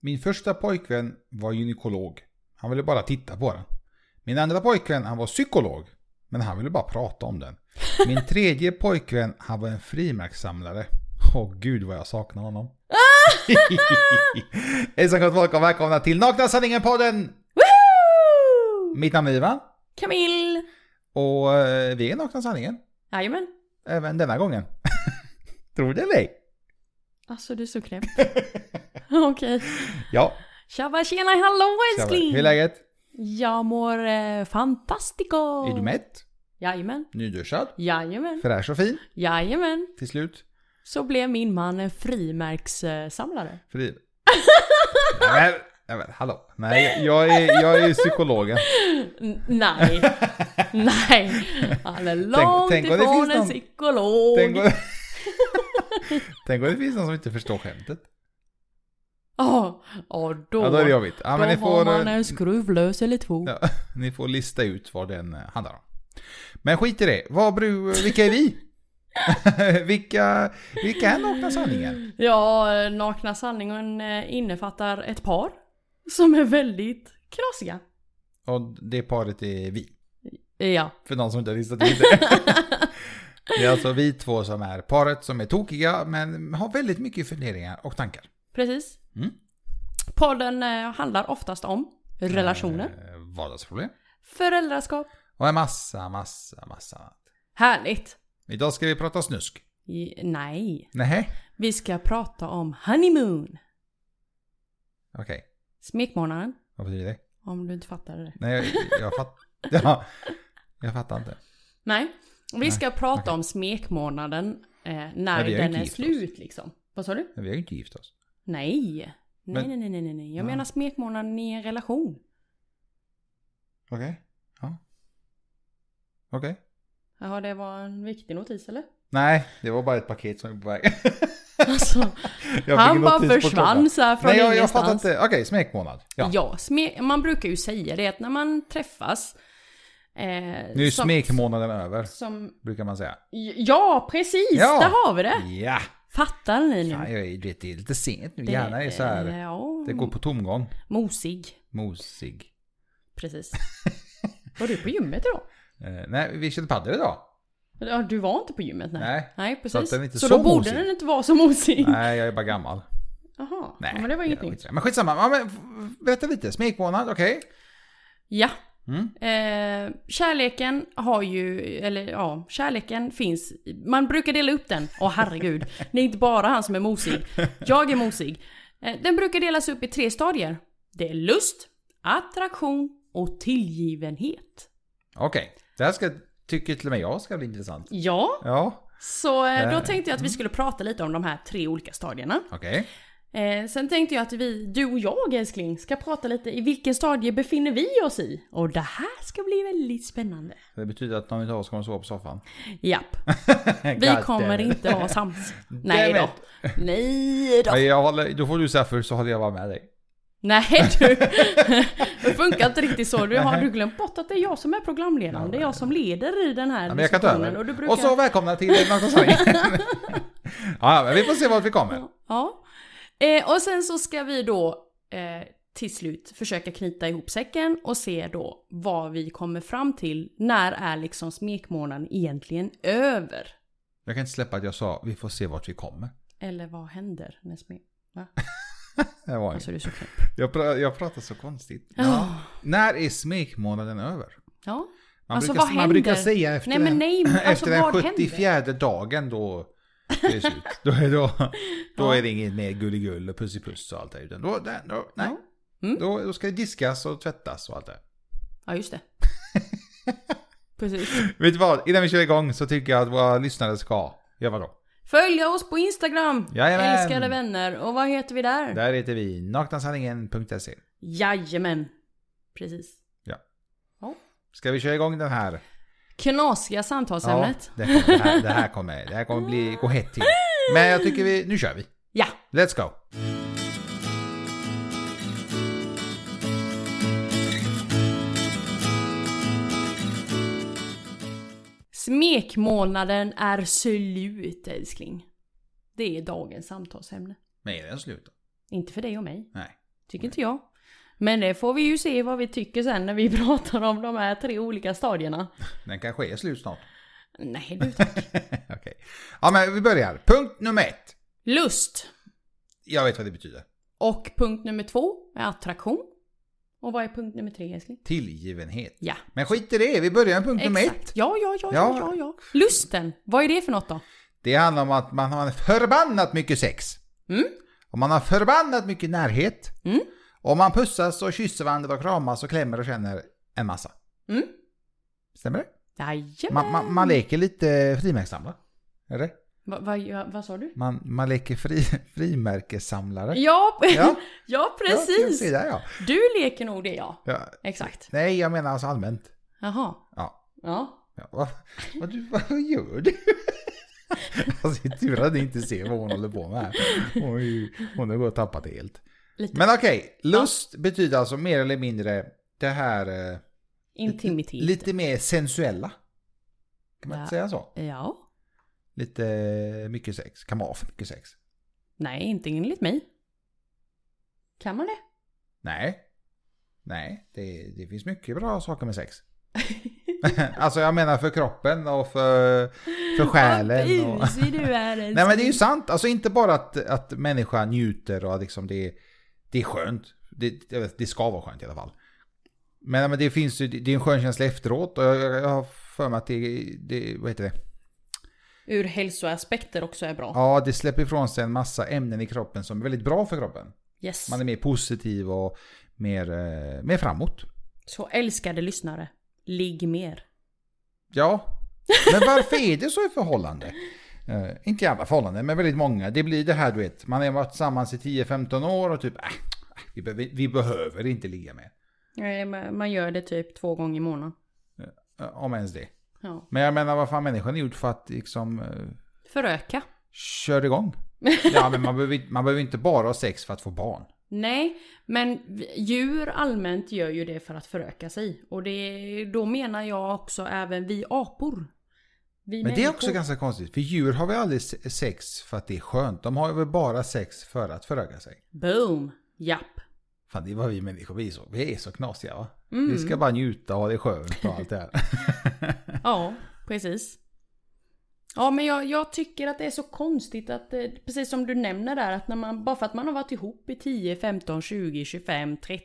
Min första pojkvän var gynekolog. Han ville bara titta på den. Min andra pojkvän, han var psykolog. Men han ville bara prata om den. Min tredje pojkvän, han var en frimärkssamlare. Åh gud vad jag saknar honom. Hejsan gott folk och välkomna till Nakna Sanningen-podden! Woohoo! Mitt namn är Ivan Camille! och eh, vi är Nakna Sanningen. Jajamän. Även denna gången. Tror det eller ej? Alltså du är så knäpp. Okej. Ja, Tjabba tjena hallå tjabbar. älskling! hur är läget? Jag mår eh, fantastico! Är du mätt? Jajamän. Nyduschad? Jajamän. Fräsch och fin? Jajamän. Till slut? Så blev min man en frimärkssamlare. Fri... Nej, men, nej, men hallå. Nej, jag är, jag är psykologen. N- nej. nej. Han är långt tänk om det ifrån finns en någon- psykolog. Tänk om, tänk om det finns någon som inte förstår skämtet. Ja, ja, då, Ja, då är det jobbigt. Ja, då men ni har man får, eh, en skruvlös eller två. ja, ni får lista ut vad den eh, handlar om. Men skit i det. Vad bru, vilka är vi? vilka, vilka är nakna sanningen? Ja, eh, nakna sanningen eh, innefattar ett par som är väldigt knasiga. Eh, Och det paret är vi. Ja, För någon som inte har listat ut det. Det är alltså vi två som är paret som är tokiga men har väldigt mycket funderingar och tankar. precis. Mm. Podden eh, handlar oftast om relationer, Eh, vardagsproblem. föräldraskap. Och en massa, massa, massa annat. Härligt! Idag ska vi prata snusk. I- Nej, Nej, vi ska prata om honeymoon. Okej, Smekmånaden, vad betyder det? om du inte fattade det. Nej, jag, jag fattar ja, Jag fattar inte. Nej, vi ska prata om smekmånaden eh, när vi har ju den inte är gift oss. slut liksom. Vad sa du? Men vi har ju inte gift oss. Nej. Nej, Men- nej, nej, nej, nej. Jag Nej. menar smekmånaden i en relation. Okej. Ja. Okej. Jaha, det var en viktig notis eller? Nej, det var bara ett paket som är på väg. Alltså, Jag fick han en bara notis på klockan. försvann så här från Nej, jag, jag ingenstans. fattar inte. Okej, smekmånad. Ja. Ja, sme- man brukar ju säga det att när man träffas... Eh, Nu är som- smekmånaden över, Som, brukar man säga. ja, precis! Ja. Där har vi det! Ja! Fattar ni nu? eh, Fan, jag är, vet, det är lite sent nu. Hjärnan är så här. Ja, Det går på tomgång. mosig. Mosig. Precis. var du på gymmet idag? Eh, nej, vi körde padel idag. Ja, du var inte på gymmet nej. Nej. precis. Så Så, att den är inte så då borde mosig. den inte vara så mosig. Nej, jag är bara gammal. Jaha, Nej, ja, men det var inget nytt. skitsamma. Men skitsamma, ja, men f- berätta lite. Smekmånad, okej? Ja. Mm. Eh, kärleken har ju, eller ja, kärleken finns. Man brukar dela upp den. Åh herregud, det är inte bara han som är mosig. Jag är mosig. Eh, den brukar delas upp i tre stadier. Det är lust, attraktion och tillgivenhet. Okej, det här ska, tycker till och med jag ska bli intressant. Ja, Ja, så eh, då Där. Mm. tänkte jag att vi skulle prata lite om de här tre olika stadierna. okej. Eh, sen tänkte jag att vi, du och jag älskling, ska prata lite i vilken stadie befinner vi oss i? Och det här ska bli väldigt spännande. Det betyder att någon av oss kommer sova på soffan. Japp. Vi God damn kommer it. inte vara sams. Nej Damn då. Nej då. Nej, jag håller, då får du säga först så håller jag bara med dig. Nej du. Det funkar inte riktigt så. Du har du glömt bort att det är jag som är programledaren. Det är jag som leder i den här Ja, men jag kan ta diskussionen. över. Och du brukar... Och så välkomna till Nakna Sanningen. ja, ja, men vi får se vart vi kommer. Ja. Eh, och sen så ska vi då eh, till slut försöka knyta ihop säcken och se då vad vi kommer fram till. När är liksom smekmånaden egentligen över? Jag kan inte släppa att jag sa vi får se vart vi kommer. Eller vad händer när smek... Va? Det var Alltså inget. du är så knäpp. jag, pra, jag pratar så konstigt. Ja. När är smekmånaden över? Ja. Man, Alltså, brukar, vad man brukar händer? säga efter Nej men den- nej, men alltså Efter den vad 74 händer? dagen då är det slut. Då är, då, då är det inget mer gulligull och pussipuss och allt det här, utan då, då, då, nej. Mm. Då, då ska det diskas och tvättas och allt det. Ja just det. Precis. Vet du vad? Innan vi kör igång så tycker jag att våra lyssnare ska göra då. Följ oss på Instagram! Jajamän. Älskade vänner. Och vad heter vi där? Där heter vi naknasanningen.se. Jajamän. Precis. Ska vi köra igång den här? Knasiga samtalsämnet. det, kommer, det, här, det här kommer, det här kommer bli, gå hett till. Men jag tycker vi, nu kör vi. Ja. Let's go! Smekmånaden är slut älskling. Det är dagens samtalsämne. Men är den slut? då? Inte för dig och mig. Nej. Tycker inte jag. Men det får vi ju se vad vi tycker sen när vi pratar om de här tre olika stadierna. Den kanske är slut snart. Nej du tack. Okej. Ja men vi börjar. Punkt nummer ett. Lust. Jag vet vad det betyder. Och punkt nummer två är attraktion. Och vad är punkt nummer tre älskling? Tillgivenhet. Ja. Men skit i det, vi börjar med punkt nummer ett. Ja, ja, ja, Ja. ja, ja, ja. Lusten. Vad är det för något då? Det handlar om att man har förbannat mycket sex. Mm. Och man har förbannat mycket närhet. Mm. Och man pussas och kysser varandra och kramas och klämmer och känner en massa. Mm. Stämmer det? Jajamän. Man, man, man leker lite frimärkssamlare. Eller? Va, va, ja, vad sa du? Man, man leker fri, frimärkessamlare. Ja, Ja. ja. Ja, precis. se där, ja. Du leker nog det ja. Ja. Exakt. Nej, jag menar alltså allmänt. Jaha. Ja. Ja. ja. Vad, vad, du, vad gör du? Alltså det är tur att ni inte ser vad hon håller på med här. Hon, är ju- hon har gått och tappat det helt. Lite. Men okej, lust betyder alltså mer eller mindre det här eh, Intimitet. lite mer sensuella. Kan man inte säga Ja. så? Ja. Lite mycket sex. Kan man ha för mycket sex? Nej, inte enligt mig. Kan man det? Nej. Nej, det, det finns mycket bra saker med sex. alltså jag menar för kroppen och för, för själen. Och... Vad busig du är Nej men det är ju sant, alltså inte bara att, att människan njuter och att liksom det, är- det är skönt. Det, jag vet, det ska vara skönt i alla fall. Men, men det finns ju, det är en skön känsla efteråt och jag, jag jag har för mig att det, det, vad heter det? Ur hälsoaspekter också är bra. Ja, det släpper ifrån sig en massa ämnen i kroppen som är väldigt bra för kroppen. Yes. Man är mer positiv och mer, eh, mer framåt. Så älskade lyssnare, ligg mer. Ja. Men varför är det så i förhållande? Eh, inte i alla förhållanden, men väldigt många. Det blir det här du vet, man har varit tillsammans i 10-15 år och typ äh, äh, vi, behöver, vi behöver inte ligga med. Nej, men Man gör det typ två gånger i månaden. Eh, Om ens det. Ja. Men jag menar vad fan människan är gjord för att liksom uh, Föröka. köra igång. Ja men man behöver, man behöver inte bara ha sex för att få barn. Nej, men vi- djur allmänt gör ju det för att föröka sig. Och det, då menar jag också även vi apor. Vi Men det är också människor. ganska konstigt, för djur har väl aldrig se- sex för att det är skönt. De har väl bara sex för att föröka sig. Boom! Japp. Fan det är vad vi människor, vi är så, vi är så knasiga va? Mm. Vi ska bara njuta och ha det skönt och allt det här. Ja, precis. Ja, men jag, jag tycker att det är så konstigt att, eh, precis som du nämner där, att när man, bara för att man har varit ihop i 10, 15, 20, 25, 30,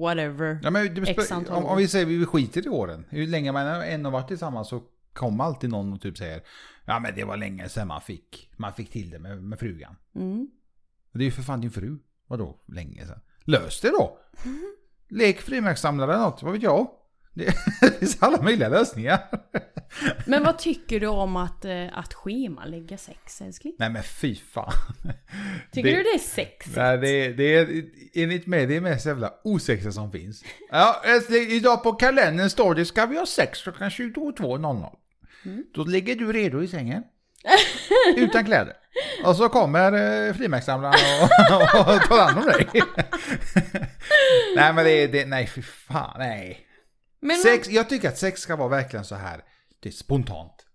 whatever. Ja, men det X spö- antal om, år. om vi säger vi skiter i åren. Hur länge man än har varit tillsammans så kommer alltid någon och typ säger Ja men det var länge sedan man fick, man fick till det med, med frugan. Mm. Och det är ju för fan din fru. Vadå länge sedan? Lös det då! Lek frimärkssamlare eller något, vad vet jag? Det det finns alla möjliga lösningar. Men vad tycker du om att, eh, att schemalägga sex älskling? Nej men fy fan. Tycker du det är sexigt? Nej, det, det är enligt mig det är mest jävla osexiga som finns. Ja, älskling, idag på kalendern står det ska vi ha sex klockan 22.00. Då ligger du redo i sängen. Utan kläder. Och så kommer eh, frimärkssamlaren och, och tar hand om dig. nej men det, det nej fy fan, nej. Men Sex, jag tycker att sex ska vara verkligen så här, det är spontant.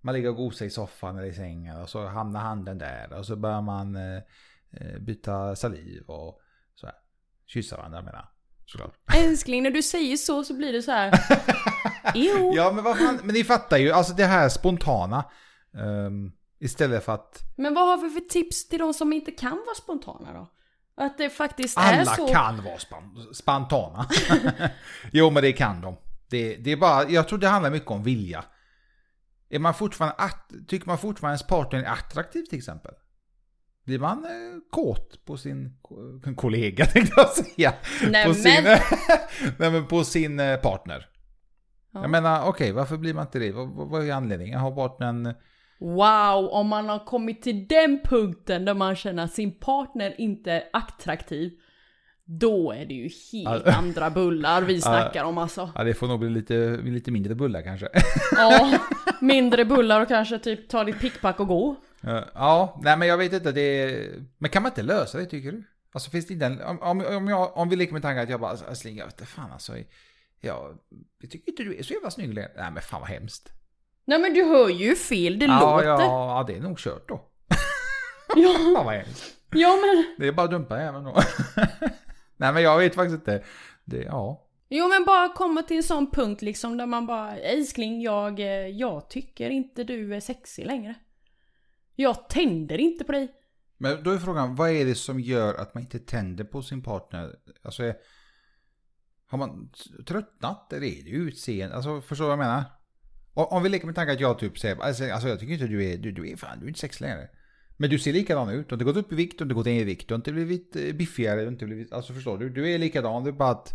Man ligger och gosar i soffan eller i sängen och så hamnar handen där och så börjar man eh, eh, byta saliv och så här. Kyssa varandra menar jag, såklart. Oh. älskling, när du säger så så blir det så här. Jo. Ja men vad fan, men ni fattar ju, alltså det här spontana. ehm, istället för att Men vad har vi för tips till de som inte kan vara spontana då? Att det faktiskt är alla så. kan vara span- spontana. jo men det kan de. Det, det är bara, jag tror det handlar mycket om vilja. Är man fortfarande att, tycker man fortfarande ens partner är attraktiv till exempel? Blir man eh, kåt på sin ko- kollega tänkte jag säga. Nej, på sin, Eh, men. nej men på sin eh, partner. Ja. Jag menar okej, varför blir man inte det? Vad, vad vad är anledningen? Har partnern... Wow, om man har kommit till den punkten där man känner att sin partner inte är attraktiv. Då är det ju helt andra bullar vi snackar om alltså. Ja det får nog bli lite, lite mindre bullar kanske. Ja, mindre bullar och kanske typ ta ditt pickpack och gå. Eh, Ja, nej men jag vet inte. Det är... Men kan man inte lösa det tycker du? Alltså finns det inte en... Om, om, om, jag, om vi leker med tanken att jag bara, alltså jag vet inte fan alltså. Jag, jag tycker inte du är så jävla snygg längre. Nej men fan vad hemskt. Nej men du hör ju fel, det Ja, låter. ja, Ja. ja, det är nog kört då. Ja, Fan vad hemskt. ja men Det är bara att dumpa även då. Nej men jag vet faktiskt inte. Det, ja. Jo men bara komma till en sån punkt liksom där man bara, älskling jag, eh, jag tycker inte du är sexig längre. Jag tänder inte på dig. Men då är frågan, vad är det som gör att man inte tänder på sin partner? Alltså, är- har man t- tröttnat? Eller är det utseende? Alltså, förstår du vad jag menar? Om, om vi leker med tanken att jag typ säger, alltså, alltså jag tycker inte du är, du, du är fan, du är inte sex längre. Men du ser likadan ut, du har inte gått upp i vikt, du har inte gått ner i vikt, du har inte blivit eh, biffigare, du har inte blivit, alltså förstår du? Du är likadan, det är bara att,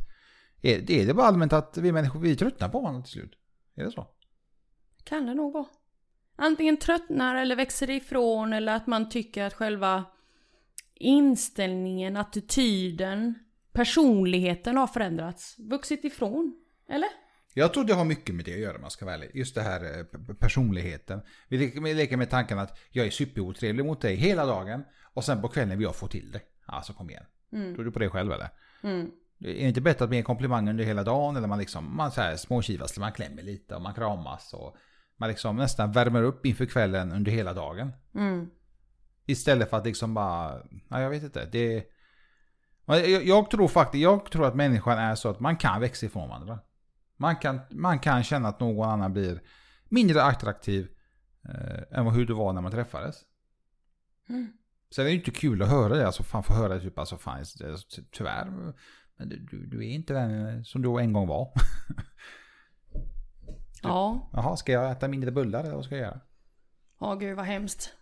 är, det är det bara allmänt att vi människor, vi tröttnar på varandra till slut? Är det så? Kan det nog vara. Antingen tröttnar eller växer ifrån eller att man tycker att själva inställningen, attityden, personligheten har förändrats. Vuxit ifrån. Eller? Jag tror det har mycket med det att göra om man ska vara ärlig. Just det här eh, p- p- personligheten. Vi leker, vi leker med tanken att jag är superotrevlig mot dig hela dagen och sen på kvällen vill jag få till det. Alltså kom igen. Mm. Tror du på det själv eller? Mm. Är det inte bättre att bli en komplimang under hela dagen eller man liksom man så här småkivas, man klämmer lite och man kramas och man liksom nästan värmer upp inför kvällen under hela dagen. Mm. Istället för att liksom bara, ja, jag vet inte. Det, Men jag, jag tror faktiskt, jag tror att människan är så att man kan växa ifrån varandra. Man kan, man kan känna att någon annan blir mindre attraktiv eh, än vad hur du var när man träffades. Mm. Sen är det ju inte kul att höra det, alltså fan få höra typ alltså fan, alltså, ty- tyvärr. Men du- du, du är inte den eh, som du en gång var. Ja. Jaha, ska jag äta mindre bullar eller vad ska jag göra? Ja, gud vad hemskt.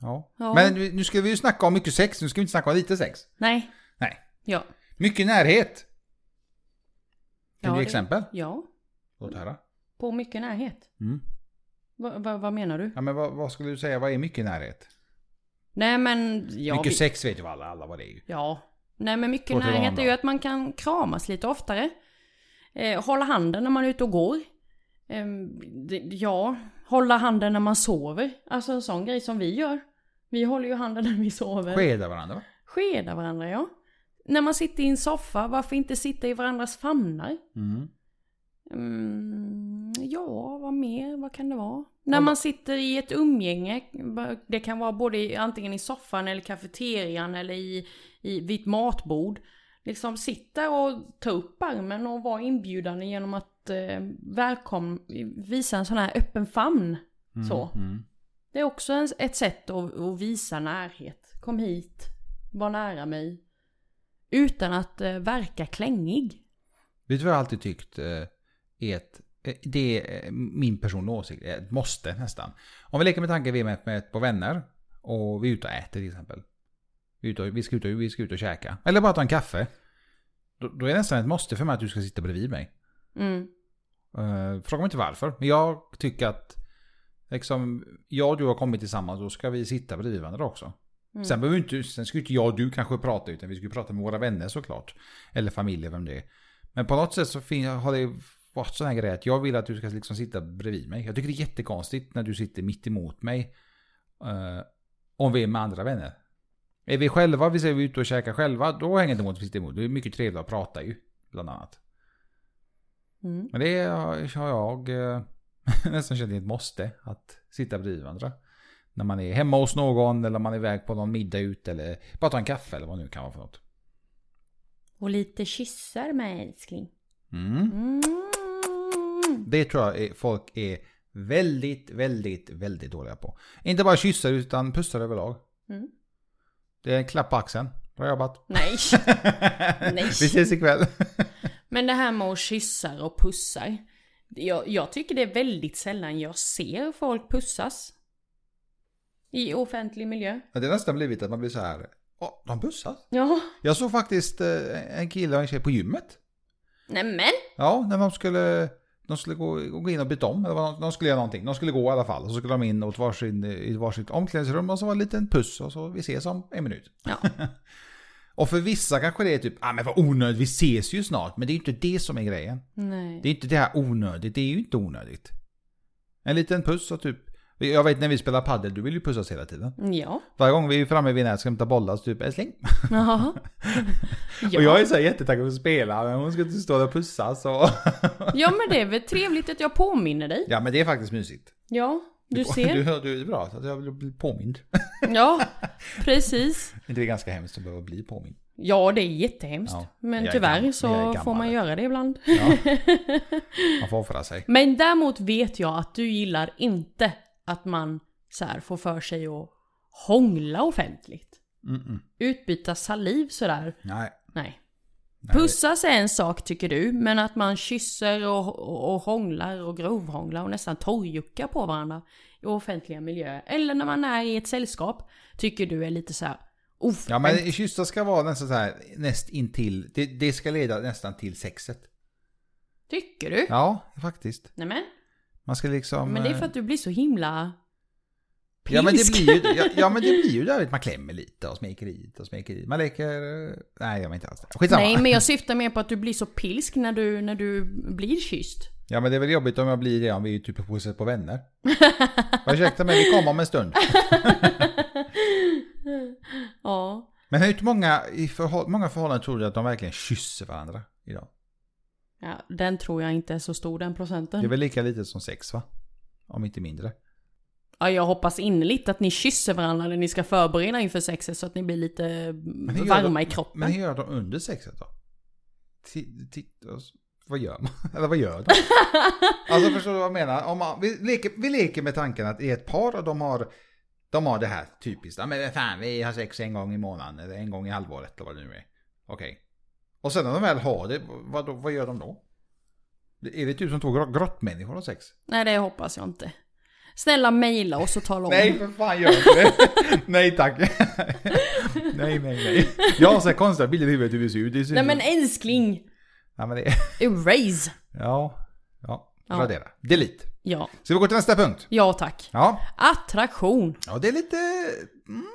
Ja. Ja. Men nu nu ska vi ju snacka om mycket sex, nu ska vi inte snacka om lite sex. Nej. Nej. Ja. Mycket närhet. Kan Ja, du det- ge exempel? Ja. Låt höra. På mycket närhet. Mm. Va, va, vad menar du? Ja, men vad, vad skulle du säga, vad är mycket närhet? Nej men... Ja, mycket vi- sex vet ju alla, alla vad det är ju. Ja. Nej men mycket Går till närhet är varandra. ju att man kan kramas lite oftare. Eh, hålla handen när man är ute och går. Eh, det, ja, hålla handen när man sover. Alltså en sån grej som vi gör. Vi håller ju handen när vi sover. Skedar varandra va? Skeda varandra ja. När man sitter i en soffa, varför inte sitta i varandras famnar? Mm. Mm, ja, vad mer? Vad kan det vara? När man sitter i ett umgänge, det kan vara både i, antingen i soffan eller kafeterian eller i, i, vid ett matbord. Liksom sitta och ta upp armen och vara inbjudande genom att eh, välkom, visa en sån här öppen famn. Så. Mm. Det är också en, ett sätt att, att visa närhet. Kom hit, var nära mig. Utan att eh, verka klängig. Vet du vad jag alltid tyckt eh, är ett, eh, det är eh, min personliga åsikt, är ett måste nästan. Om vi leker med tanken vi är med, med ett par vänner och vi är ute och äter till exempel. Vi, är ute och, vi, ska ut och, vi ska ut och käka. Eller bara ta en kaffe. Då, då är det nästan ett måste för mig att du ska sitta bredvid mig. Mm. Eh, fråga mig inte varför, men jag tycker att liksom, jag och du har kommit tillsammans, då ska vi sitta bredvid varandra också. Mm. Sen, behöver vi inte, sen ska ju inte jag och du kanske prata, utan vi ska ju prata med våra vänner såklart. Eller familjer, vem det är. Men på något sätt så fin, har det varit sån här grej att jag vill att du ska liksom sitta bredvid mig. Jag tycker det är jättekonstigt när du sitter mitt emot mig. eh, om vi är med andra vänner. Är vi själva, vi säger vi är ute och käkar själva, då hänger det inte emot att vi sitter emot. Det är mycket trevligt att prata ju, bland annat. Mm. Men det har jag eh, nästan känt är ett måste. Att sitta bredvid varandra. När man är hemma hos någon eller man är iväg på någon middag ut eller bara ta en kaffe eller vad det nu kan vara för något. Och lite kyssar med älskling. Mm. Mm. Det tror jag är, folk är väldigt, väldigt, väldigt dåliga på. Inte bara kyssar utan pussar överlag. Mm. Det är en klapp på axeln. Bra jobbat. Nej. Vi Nej. ses ikväll. Men det här med att kyssar och pussar. Jag, jag tycker det är väldigt sällan jag ser folk pussas. I offentlig miljö. Ja, Det har nästan blivit att man blir så här. Åh, de pussas. Ja. Jag såg faktiskt eh, en kille och en tjej på gymmet. Nämen! Ja, när de skulle, de skulle gå, gå in och byta om. Eller vad de, de skulle göra någonting. De skulle gå i alla fall. Och så skulle de in åt varsin, i varsitt omklädningsrum och så var det en liten puss och så vi ses om en minut. Ja. Och för vissa kanske det är typ, ah men vad onödigt, vi ses ju snart. Men det är ju inte det som är grejen. Nej. Det är inte det här onödigt, det är ju inte onödigt. En liten puss och typ, jag vet när vi spelar paddel, du vill ju pussas hela tiden. Ja. Varje gång vi är framme vid nätet ska hämta bollar så typ, älskling. Jaha. Och jag Ja. är så här jättetaggad för att spela, men hon ska inte stå där och pussas och... ja men det är väl trevligt att jag påminner dig. ja men det är faktiskt mysigt. Ja. Du Du, ser. hör- du är bra, så att jag blir påmind. Ja. Precis. Det är ganska hemskt att behöva bli påmind. Ja, det är jättehemskt. Ja, jag men är tyvärr gam- jag är så gammal. får man göra det ibland. Ja. Man får offra sig. Men däremot vet jag att du gillar inte att man så här får för sig att hångla offentligt. Mm-mm. Utbyta saliv sådär. Nej. Nej. Nej. Pussas är en sak tycker du, men att man kysser och, och, och hånglar och grovhånglar och nästan torrjuckar på varandra i offentliga miljöer. Eller när man är i ett sällskap tycker du är lite så här oförskämt. Ja men kyssar ska vara nästan så här näst intill. Det, det ska leda nästan till sexet. Tycker du? Ja, faktiskt. Nej men, Man ska liksom... eh, men det är för att du blir så himla... Ja men, det Pisk. blir ju, ja, ja men det blir ju där att man klämmer lite och smeker hit och smeker dit. Man leker... eh, Nej, jag menar inte alls det. Skitsamma. Nej men jag syftar mer på att du blir så pilsk när du, när du blir kysst. Ja men det är väl jobbigt om jag blir det om vi är typ på huset på vänner. Ursäkta mig, vi kommer om en stund. Ja. Men hur många, i förhåll, många förhållanden tror du att de verkligen kysser varandra idag? ja. Den tror jag inte är så stor den Det är procenten. väl lika lite som sex va? Om inte mindre. Ja, jag hoppas innerligt att ni kysser varandra när ni ska förbereda inför sexet så att ni blir lite Men hur gör varma de- i kroppen. Men hur gör de under sexet då? Ti- Titta, och s- vad gör man? Eller vad gör de? Alltså förstår du vad jag menar? Om man, vi, leker, vi leker med tanken att i ett par och de har, de har det här typiskt. Ja men vad fan vi har sex en gång i månaden eller en gång i halvåret eller vad det nu är. Okej. Och sen när de väl har det, vad, vad gör de då? Är det typ som två grott- grottmänniskor och sex? Nej, det hoppas jag inte. Snälla mejla oss och tala om. Nej för fan gör inte det. nej tack. nej nej nej. Jag har så här konstiga bilder i huvudet hur vi ser ut. Det ser Nej ut som- men älskling! Ja, men det... Erase! Ja. Ja. Ja. Radera. Delete. Ja, Ska vi gå till nästa punkt? ja tack. Ja. Attraktion. Ja, det är lite... Mm.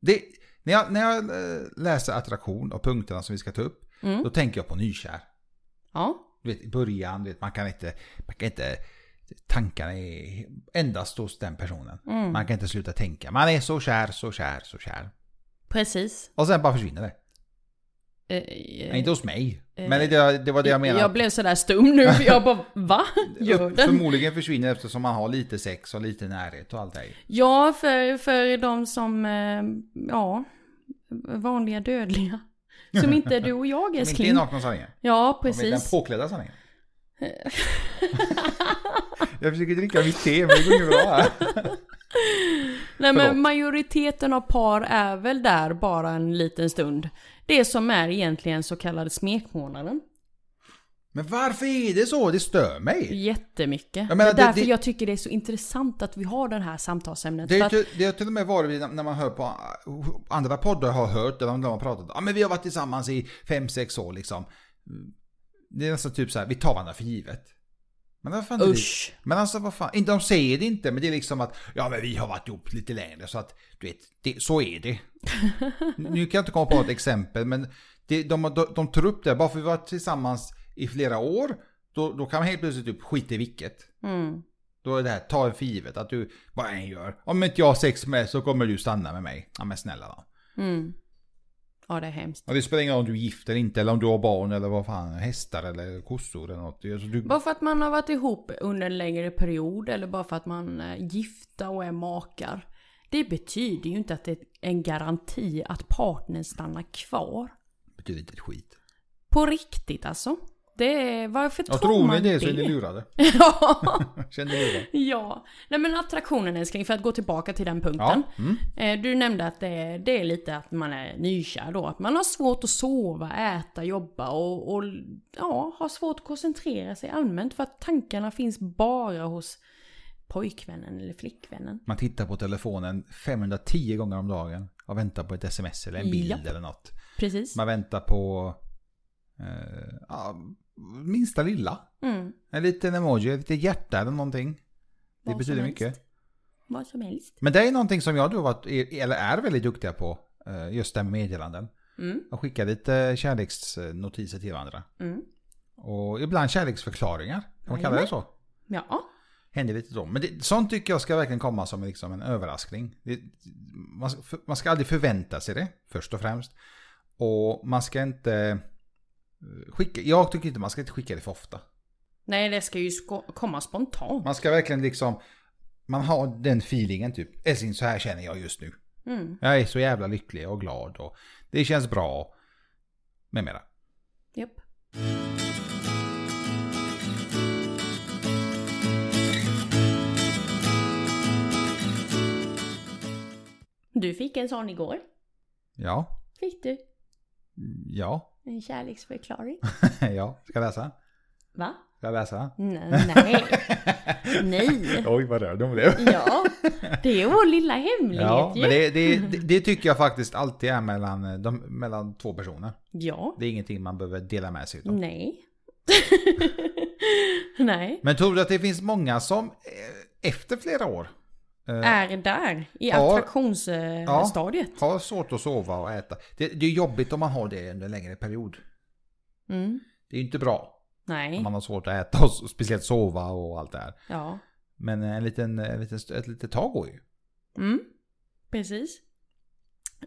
Det... När jag, när jag eh, läser attraktion och punkterna som vi ska ta upp, Mm. då tänker jag på nykär. Ja, Du vet, i början, du vet, man kan inte... Man kan inte tankarna är endast hos den personen. Mm. Man kan inte sluta tänka. Man är så kär, så kär, så kär. precis. Och sen bara försvinner det. Eh, Nej, inte hos mig. eh, Men det, det var det jag menade. jag blev sådär stum nu för jag bara va? Gör den? Förmodligen försvinner det eftersom man har lite sex och lite närhet och allt det här. Ja, för, för de som, eh, ja, vanliga dödliga. Som inte är du och jag Som inte är älskling. nakna sanningen. Ja, Som är Den precis. påklädda sanningen. jag försöker dricka mitt te men det går inte bra här. Nej förlåt. men majoriteten av par är väl där bara en liten stund. Det som är egentligen så kallad smekmånaden. Men varför är det så? Det stör mig. Jättemycket. Jag menar, det det- är därför det- jag tycker det är så intressant att vi har det här samtalsämnet. Det för har att, till, det har till och med varit vid- när man hör på eh, andra poddar har hört där de har pratat. Ja men vi har varit tillsammans i 5-6 år liksom. Det är nästan typ så här, vi tar varandra för givet. Men vad fan är det? usch. Men alltså vad fan, inte de säger det inte men det är liksom att ja men vi har varit ihop lite längre så att du vet, det, så är det. nu kan jag inte komma på något exempel men det, de, de, de tar upp det, bara för vi har varit tillsammans i flera år då, då kan man helt plötsligt typ skita i vilket. Mm. Då är det här, ta för givet att du, vad jag än gör, om inte jag har sex med så kommer du stanna med mig. Ja men snälla då. Mm. Ja, det är hemskt. Och det spelar ingen roll om du är gift eller inte eller om du har barn eller vad fan, hästar eller kossor eller något. Alltså, du, Bara för att man har varit ihop under en längre period eller bara för att man är gifta och är makar. Det betyder ju inte att det är en garanti att partnern stannar kvar. betyder inte ett skit. På riktigt alltså. Det är, varför Ja, tror tror ni man det, så är ni lurade. ja. Känner ni det? ja. Nej men attraktionen älskling, för att gå tillbaka till den punkten. Ja. Mm. Eh, Du nämnde att det är, det är lite att man är nykär då. Att man har svårt att sova, äta, jobba och, och ja, har svårt att koncentrera sig allmänt för att tankarna finns bara hos pojkvännen eller flickvännen. Man tittar på telefonen 510 gånger om dagen och väntar på ett sms eller en bild Japp. eller något. Precis. Man väntar på eh, ja, minsta lilla. Mm. En liten emoji, ett litet hjärta eller någonting. Det Vad som betyder helst. mycket. Vad som helst. Men det är någonting som jag då varit, är- eller är väldigt duktiga på. eh, Just det här med meddelanden. Mm. Att skicka lite kärleksnotiser till varandra. Mm. Och ibland kärleksförklaringar. Kan man kalla det så? Ja. händer lite då. Men det, sånt tycker jag ska verkligen komma som liksom en överraskning. Det, man, för- man ska aldrig förvänta sig det, först och främst. Och man ska inte eh, skicka, jag tycker inte man ska inte skicka det för ofta. Nej, det ska ju sko- komma spontant. Man ska verkligen liksom, man har den feelingen typ. Älskling, så här känner jag just nu. Mm. Jag är så jävla lycklig och glad och det känns bra. Med mera. Japp. Du fick en sån igår. Ja, Fick du. ja, En kärleksförklaring. ja. Ska jag läsa? Va? Ska jag läsa? Nej. Nej. Nej. Oj, vad rörd hon blev. Ja. Det är vår lilla hemlighet Ja, ju. men det, det, det, det tycker jag faktiskt alltid är mellan, eh, de, mellan två personer. Ja. Det är ingenting man behöver dela med sig av. Nej. Nej. Men tror du att det finns många som eh, efter flera år eh, Är där. I Ja. Ja. attraktionsstadiet. har svårt att sova och äta? Det, det är jobbigt om man har det under en längre period. Mm. Det är ju inte bra om Nej. man har svårt att äta och s- speciellt sova och allt det här. Ja. Men en liten, en liten, ett litet tag går ju. Mm. Precis.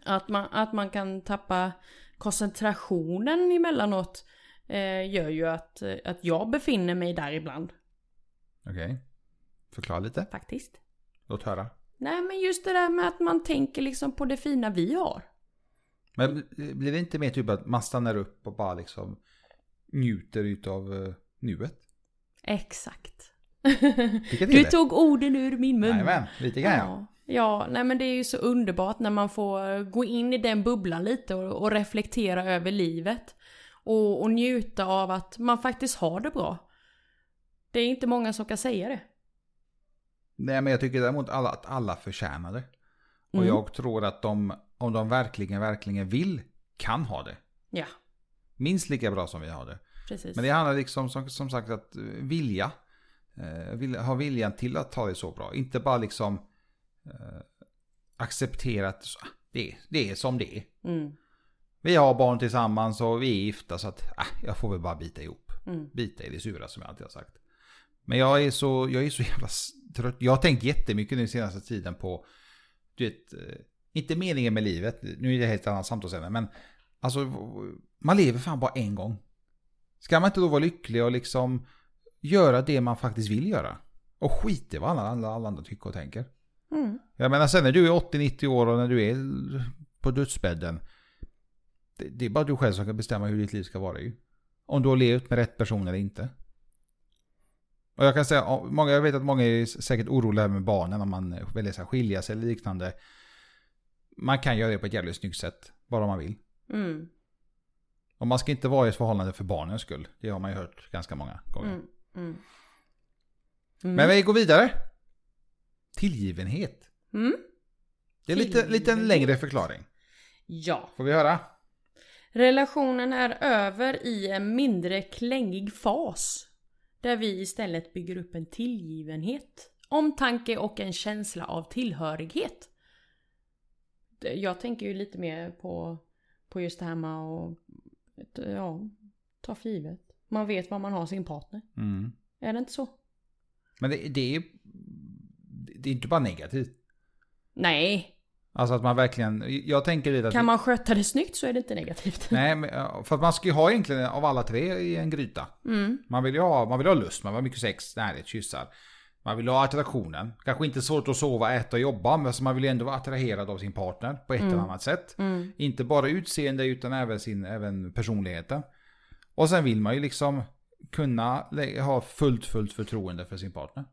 Att man, att man kan tappa koncentrationen emellanåt eh, gör ju att, eh, att jag befinner mig där ibland. Okej. Förklara lite. Faktiskt. Låt höra. Nej men just det där med att man tänker liksom på det fina vi har. Men bl- blir det inte mer typ att man stannar upp och bara liksom njuter utav eh, nuet? Exakt. Vilket är Du det? tog orden ur min mun. Jajamän, lite grann ja. Ja. ja, nej men det är ju så underbart när man får gå in i den bubblan lite och, och reflektera över livet. Och, och njuta av att man faktiskt har det bra. Det är inte många som kan säga det. Nej men jag tycker däremot alla, att alla förtjänar det. Och Mm. jag tror att de, om de verkligen, verkligen vill, kan ha det. Ja, Minst lika bra som vi har det. precis. Men det handlar liksom som, som sagt att eh, vilja. Eh, vilja- ha viljan till att ta det så bra. Inte bara liksom eh, acceptera att så, ah, det, det är som det är. Mm, Vi har barn tillsammans och vi är gifta så att ah, jag får väl bara bita ihop. mm, Bita i det sura som jag alltid har sagt. Men jag är så, jag är så jävla s- trött. Jag har tänkt jättemycket nu senaste tiden på, du vet, eh, inte meningen med livet. Nu är det ett helt annat samtalsämne men alltså v- man lever fan bara en gång. Ska man inte då vara lycklig och liksom göra det man faktiskt vill göra? Och skit i vad alla, alla, alla andra tycker och tänker. mm. Jag menar sen när du är 80-90 år och när du är på dödsbädden. Det, det är bara du själv som kan bestämma hur ditt liv ska vara ju. Om du har levt med rätt person eller inte. Och jag kan säga, ja, många, jag vet att många är säkert oroliga med barnen om man eh, väljer att skilja sig eller liknande. Man kan göra det på ett jävligt snyggt sätt. Bara om man vill. Mm, Och man ska inte vara i ett förhållande för barnens skull. Det har man ju hört ganska många gånger. mm, mm. Men vi går vidare. Tillgivenhet. Mm. Det är lite, lite en Tillgivenhet. längre förklaring. Ja. Får vi höra? Relationen är över i en mindre klängig fas. Där vi istället bygger upp en tillgivenhet, omtanke och en känsla av tillhörighet. Det- Jag tänker ju lite mer på, på just det här med att ja, ta för givet. Man vet var man har sin partner. Mm. Är det inte så? Men det, det är det är inte bara negativt. Nej, Alltså att man verkligen, jag tänker lite att... kan man sköta det snyggt så är det inte negativt. Nej, men, ja, för att man ska ju ha egentligen av alla tre i en gryta. Mm, Man vill ju ha, man vill ha lust, man vill ha mycket sex, närhet, kyssar. Man vill ha attraktionen. Kanske inte svårt att sova, äta och jobba, men så man vill ju ändå vara attraherad av sin partner på ett eller annat sätt. mm, Inte bara utseende utan även, sin, även personligheten. Och sen vill man ju liksom kunna lä- ha fullt, fullt förtroende för sin partner.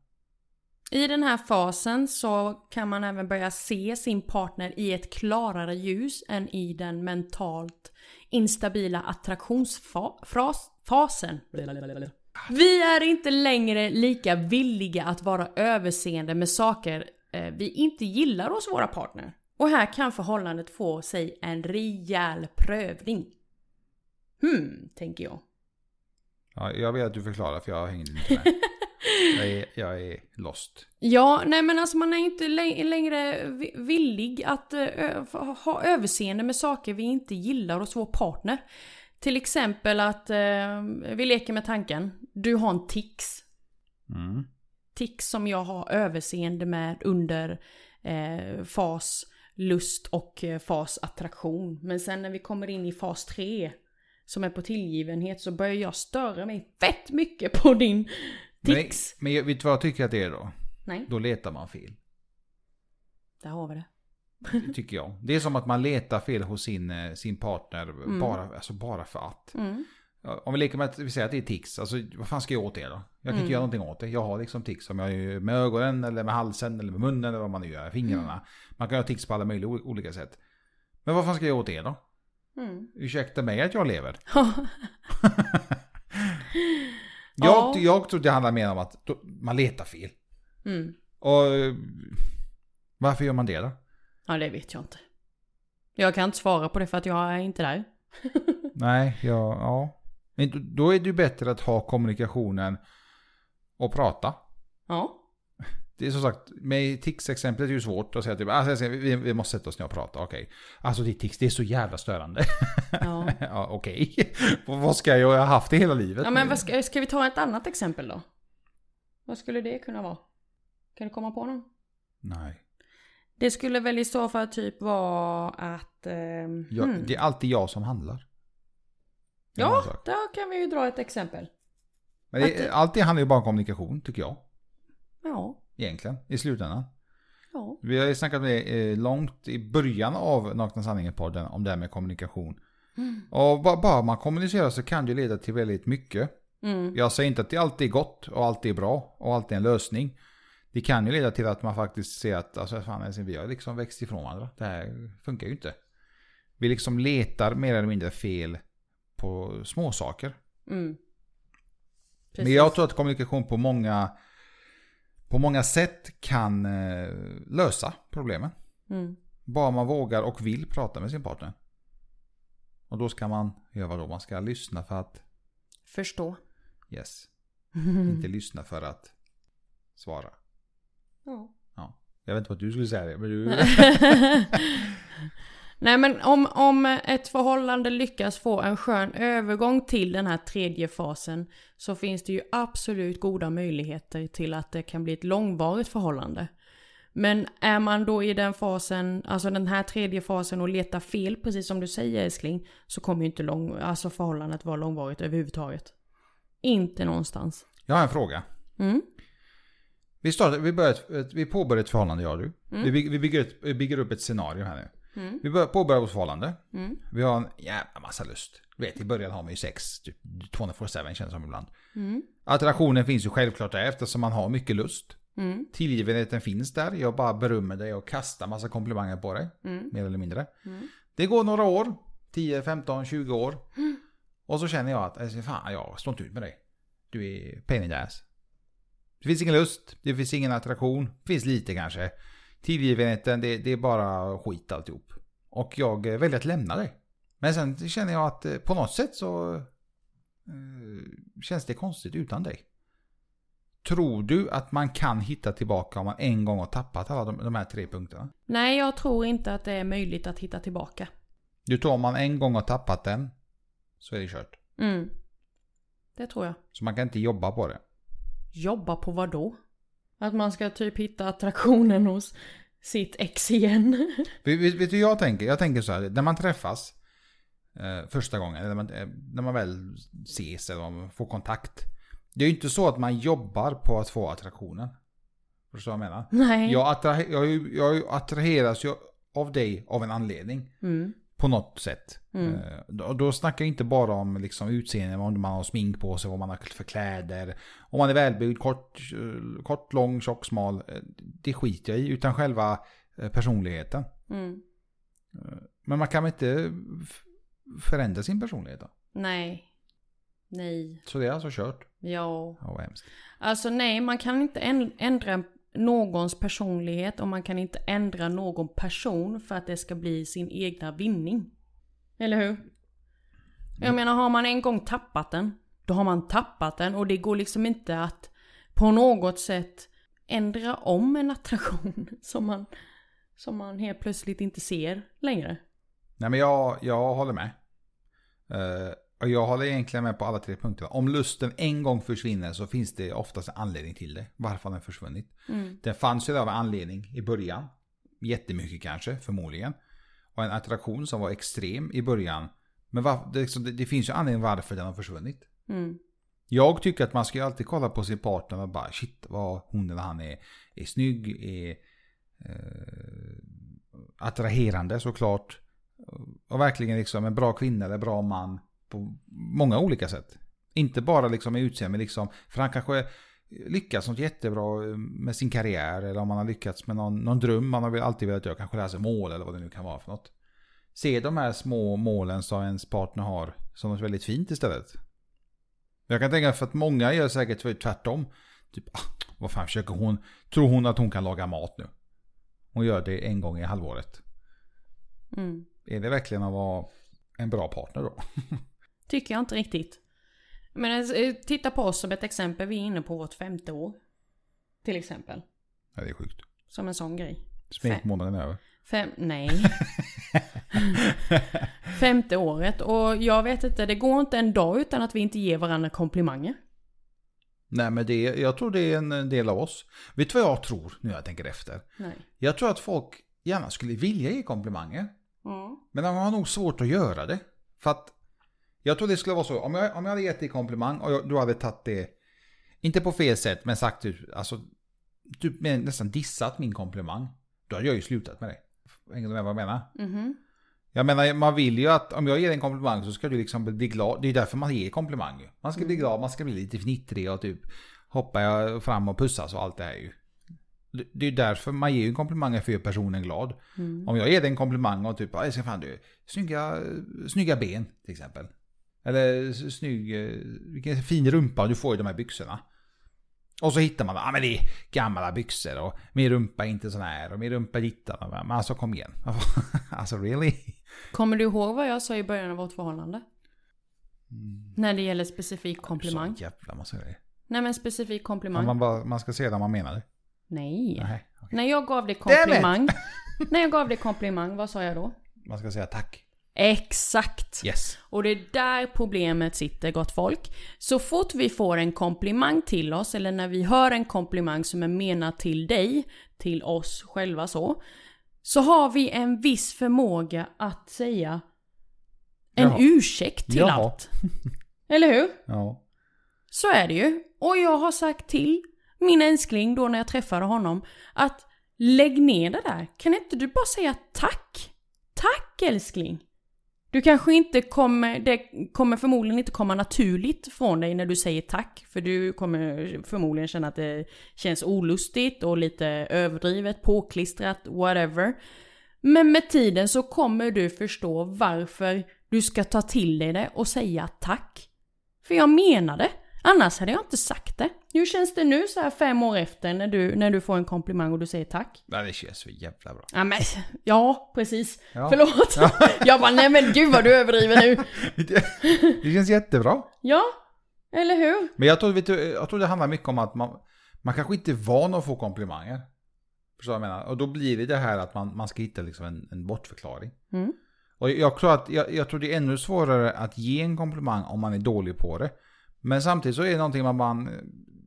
I den här fasen så kan man även börja se sin partner i ett klarare ljus än i den mentalt instabila attraktionsfasen. Vi är inte längre lika villiga att vara överseende med saker eh, vi inte gillar hos våra partner. Och här kan förhållandet få sig en rejäl prövning. Hmm, tänker jag. Ja, jag vet att du förklarar för jag hängde inte med. jag, är, jag är lost. Ja, nej men alltså man är inte lä- längre vi- villig att eh, ö- ha överseende med saker vi inte gillar hos vår partner. Till exempel att, eh, vi leker med tanken, du har en tics. Mm. Tics som jag har överseende med under eh, fas lust och eh, fas attraktion. Men sen när vi kommer in i fas 3, som är på tillgivenhet, så börjar jag störa mig fett mycket på din tics. Men, men jag- vet du vad jag tycker att det är då? Nej, Då letar man fel. där har vi det. Tycker jag. Det är som att man letar fel hos sin, eh, sin partner bara, alltså bara för att. Mm. Ja, Om vi leker med att vi säger att det är tics, alltså vad fan ska jag göra åt det då? Jag kan inte göra någonting åt det. Jag har liksom tics om jag är med ögonen eller med halsen eller med munnen eller vad man nu gör, fingrarna. Man kan ha tics på alla möjliga o- olika sätt. Men vad fan ska jag göra åt det då? Mm. Ursäkta mig att jag lever. Ja. Jag, Ja. jag tror det handlar mer om att då- man letar fel. Mm. Och eh, varför gör man det då? Ja, det vet jag inte. Jag kan inte svara på det för att jag är inte där. Nej, ja, ja. Men då- då är det ju bättre att ha kommunikationen och prata. Ja. Det är som sagt, med tics-exemplet är det ju svårt att säga typ, alltså, jag säger, vi, vi måste sätta oss ner och prata, okej. Alltså det är tics, det är så jävla störande. Ja, ja, okej. Vad ska jag, jag har haft det hela livet. ja men nu. vad ska, ska vi ta ett annat exempel då? Vad skulle det kunna vara? Kan du komma på någon? Nej. Det skulle väl i så fall typ vara att... ehm, Jag, hmm. Det är alltid jag som handlar. Det är en annan ja, sak. där kan vi ju dra ett exempel. Men det, att det- allt det handlar ju bara om kommunikation, tycker jag. Ja, Egentligen, i slutändan. ja. Vi har ju snackat med eh, långt i början av Nakna Sanningen-podden om det här med kommunikation. Och bara, bara man kommunicerar så kan det leda till väldigt mycket. Mm. Jag säger inte att det alltid är gott och alltid är bra och alltid är en lösning. Det kan ju leda till att man faktiskt ser att alltså, fan, alltså, vi har liksom växt ifrån varandra. Det här funkar ju inte. Vi liksom letar mer eller mindre fel på små saker. Mm. Men jag tror att kommunikation på många, på många sätt kan eh, lösa problemen. Mm. Bara man vågar och vill prata med sin partner. Och då ska man göra vad då? Man ska lyssna för att Förstå. yes. Inte lyssna för att svara. Ja. Ja. Jag vet inte vad du skulle säga det, men du... Nej men om, om ett förhållande lyckas få en skön övergång till den här tredje fasen så finns det ju absolut goda möjligheter till att det kan bli ett långvarigt förhållande. Men är man då i den fasen, alltså den här tredje fasen och letar fel, precis som du säger älskling, så kommer ju inte lång, alltså förhållandet vara långvarigt överhuvudtaget. Inte någonstans. Jag har en fråga. Mm. Vi, startar, vi, börjar ett, ett, vi påbörjar ett förhållande, jag och du. Mm. Vi, bygger, vi bygger, ett, vi bygger upp ett scenario här nu. Vi bör, påbörjar vårt förhållande. Mm. Vi har en jävla massa lust. Du vet, i början har man ju sex. Typ 24-7 känns det som ibland. Attraktionen finns ju självklart där eftersom man har mycket lust. Mm. Tillgivenheten finns där. Jag bara berömmer dig och kastar massa komplimanger på dig. Mm. Mer eller mindre. Det går några år. 10, 15, 20 år. Mm. Och så känner jag att alltså, fan, jag står inte ut med dig. Du är pain in the ass. Det finns ingen lust, det finns ingen attraktion, det finns lite kanske. Tillgivenheten, det, det är bara skit alltihop. Och jag eh, väljer att lämna dig. Men sen känner jag att eh, på något sätt så eh, känns det konstigt utan dig. Tror du att man kan hitta tillbaka om man en gång har tappat alla de, de här tre punkterna? Nej, jag tror inte att det är möjligt att hitta tillbaka. Du tror om man en gång har tappat den så är det kört. Mm. Det tror jag. Så man kan inte jobba på det. Jobba på vad då? Att man ska typ hitta attraktionen hos sitt ex igen. Vet, vet, vet du jag tänker? Jag tänker så här, när man träffas eh, första gången, eller när man, eh, när man väl ses eller man får kontakt. Det är ju inte så att man jobbar på att få attraktionen. Förstår du vad jag menar? Nej. Jag, attra, jag, är ju- jag attraheras ju av dig av en anledning. Mm. På något sätt. Mm. Eh, då, då snackar jag inte bara om liksom, utseende, om man har smink på sig, vad man har för kläder. Om man är välbyggd, kort, eh, kort lång, tjock, smal. eh, Det skiter jag i. Utan själva eh, personligheten. Mm. Men man kan väl inte f- förändra sin personlighet då? Nej. Nej. Så det är alltså kört. Ja. Ja, vad hemskt. Alltså nej, man kan inte änd- ändra någons personlighet och man kan inte ändra någon person för att det ska bli sin egna vinning. Eller hur? Jag menar, har man en gång tappat den, då har man tappat den och det går liksom inte att på något sätt ändra om en attraktion som man, som man helt plötsligt inte ser längre. Nej men jag, jag håller med. Eh, och jag håller egentligen med på alla tre punkterna. Om lusten en gång försvinner så finns det oftast en anledning till det. Varför har den försvunnit? Den fanns ju där av en anledning i början. Jättemycket kanske, förmodligen. Och en attraktion som var extrem i början. Men var, det, liksom- det, det finns ju anledning varför den har försvunnit. Mm. Jag tycker att man ska ju alltid kolla på sin partner och bara shit vad hon eller han är, är snygg, är eh, attraherande såklart. Och verkligen liksom en bra kvinna eller bra man på många olika sätt. Inte bara liksom i utseende, men liksom, för han kanske lyckas något jättebra eh, med sin karriär eller om han har lyckats med någon, någon dröm man har väl alltid velat göra, kanske lära sig mål eller vad det nu kan vara för något. Se de här små målen som ens partner har som något väldigt fint istället. Jag kan tänka mig för att många gör säkert tvärtom. Typ, ah, vad fan försöker hon? Tror hon att hon kan laga mat nu? Hon gör det en gång i halvåret. Mm. Är det verkligen att vara en bra partner då? Tycker jag inte riktigt. Men eh, titta på oss som ett exempel. Vi är inne på vårt femte år. Till exempel. Ja, det är sjukt. Som en sån grej. Smekmånaden är över. Fem, nej. Femte året. Och jag vet inte, det går inte en dag utan att vi inte ger varandra komplimanger. Nej men det, jag tror det är en del av oss. Vet du vad jag tror nu när jag tänker efter? Nej. Jag tror att folk gärna skulle vilja ge komplimanger. Mm. Men de har nog svårt att göra det. För att jag tror det skulle vara så. Om jag, om jag hade gett dig komplimang och jag, du hade tagit det, inte på fel sätt, men sagt typ, alltså, typ med- nästan dissat min komplimang. Då hade jag ju slutat med det. Hänger du med vad jag menar? Mhm. Jag menar, man vill ju att om jag ger dig en komplimang så ska du liksom bli glad. Det är därför man ger komplimang ju. Man ska bli glad, man ska bli lite fnittrig och typ hoppa jag fram och pussas och allt det här ju. Det- Det är därför man ger ju komplimanger för att göra personen glad. Om jag ger dig en komplimang och typ, jag ska fan du, snygga, snygga ben till exempel. Eller s- snygg, eh, vilken fin rumpa du får i de här byxorna. Och så hittar man, ja ah, men det är gamla byxor och min rumpa är inte sån här och min rumpa hittar man. Men alltså kom igen. alltså really? Kommer du ihåg vad jag sa i början av vårt förhållande? Mm. När det gäller specifik komplimang. Så jävla massa grejer. Nej men specifik Men komplimang. man, bara, man ska se det man menar. Nej. Nej. När jag gav dig Damn it! komplimang. när jag gav dig komplimang, vad sa jag då? Man ska säga tack. Exakt. Yes. Och det är där problemet sitter gott folk. Så fort vi får en komplimang till oss eller när vi hör en komplimang som är menad till dig, till oss själva så. Så har vi en viss förmåga att säga en Jaha. ursäkt till Jaha. allt. Eller hur? Ja. Så är det ju. Och jag har sagt till min älskling då när jag träffade honom att lägg ner det där. Kan inte du bara säga tack? Tack älskling! Du kanske inte kommer, det kommer förmodligen inte komma naturligt från dig när du säger tack. För du kommer förmodligen känna att det känns olustigt och lite överdrivet, påklistrat, whatever. Men med tiden så kommer du förstå varför du ska ta till dig det och säga tack. För jag menar det. Annars hade jag inte sagt det. Hur känns det nu så här fem år efter när du, när du får en komplimang och du säger tack? Nej, det känns så jävla bra. Ja, men, ja precis. Ja. Förlåt. Jag bara, nej men gud vad du överdriver nu. Det, det känns jättebra. Ja, eller hur? Men jag tror, vet du, jag tror det handlar mycket om att man, man kanske inte är van att få komplimanger. Förstår du vad jag menar? Och då blir det det här att man, man ska hitta liksom en, en bortförklaring. Mm. Och jag tror, att, jag, jag tror det är ännu svårare att ge en komplimang om man är dålig på det. Men samtidigt så är det någonting man, man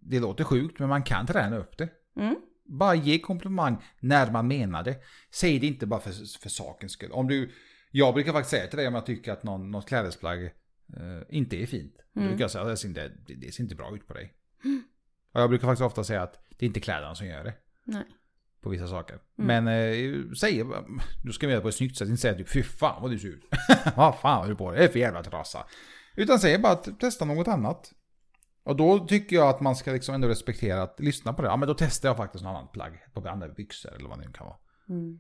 det låter sjukt men man kan träna upp det. Mm. Bara ge komplimang när man menar det. Säg det inte bara för, för sakens skull. Om du, jag brukar faktiskt säga till dig om jag tycker att någon, något klädesplagg eh, inte är fint. Då brukar jag säga att det ser, inte, det, det ser inte bra ut på dig. Och jag brukar faktiskt ofta säga att det är inte kläderna som gör det. Nej. På vissa saker. Men eh, säg, du ska vi göra det på ett snyggt sätt. Inte säga typ fy fan vad du ser ut. vad fan har du på dig? Det är för jävla trasa. Utan säg bara att testa något annat. Och då tycker jag att man ska liksom ändå respektera att lyssna på det. Ja men då testar jag faktiskt något annat plagg. På andra byxor eller vad det nu kan vara. Mm,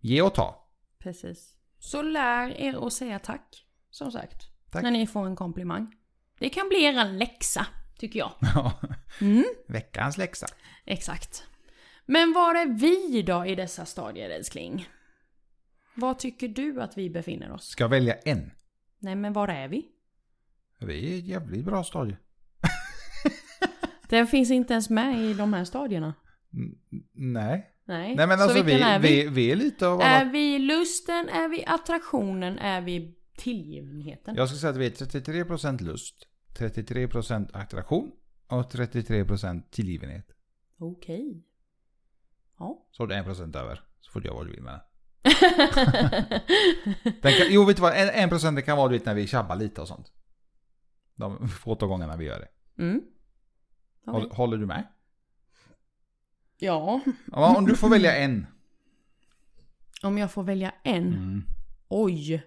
Ge och ta. precis. Så lär er att säga tack. Som sagt. Tack. När ni får en komplimang. Det kan bli er en läxa, tycker jag. Veckans läxa. Exakt. Men var är vi då i dessa stadier älskling? Var tycker du att vi befinner oss? Ska jag välja en? Nej men var är vi? Vi är ett jävligt bra stadie. Den finns inte ens med i de här stadierna. Nej. Nej, Nej men så alltså vilken vi, är vi? vi, vi är lite av Är alla. vi lusten? Är vi attraktionen? Är vi tillgivenheten? Jag skulle säga att vi är 33% lust, 33% attraktion och 33% tillgivenhet. Okej. Ja. Så har du 1% över. Så får du göra vad du vill med den. den kan, jo, vet du vad? En- 1% det kan vara du vet, när vi tjabbar lite och sånt. De fåtal gångerna vi gör det. Mm. Okej. Håller, håller du med? Ja. Ja, Om du får välja en. Om jag får välja en? Mm. Oj!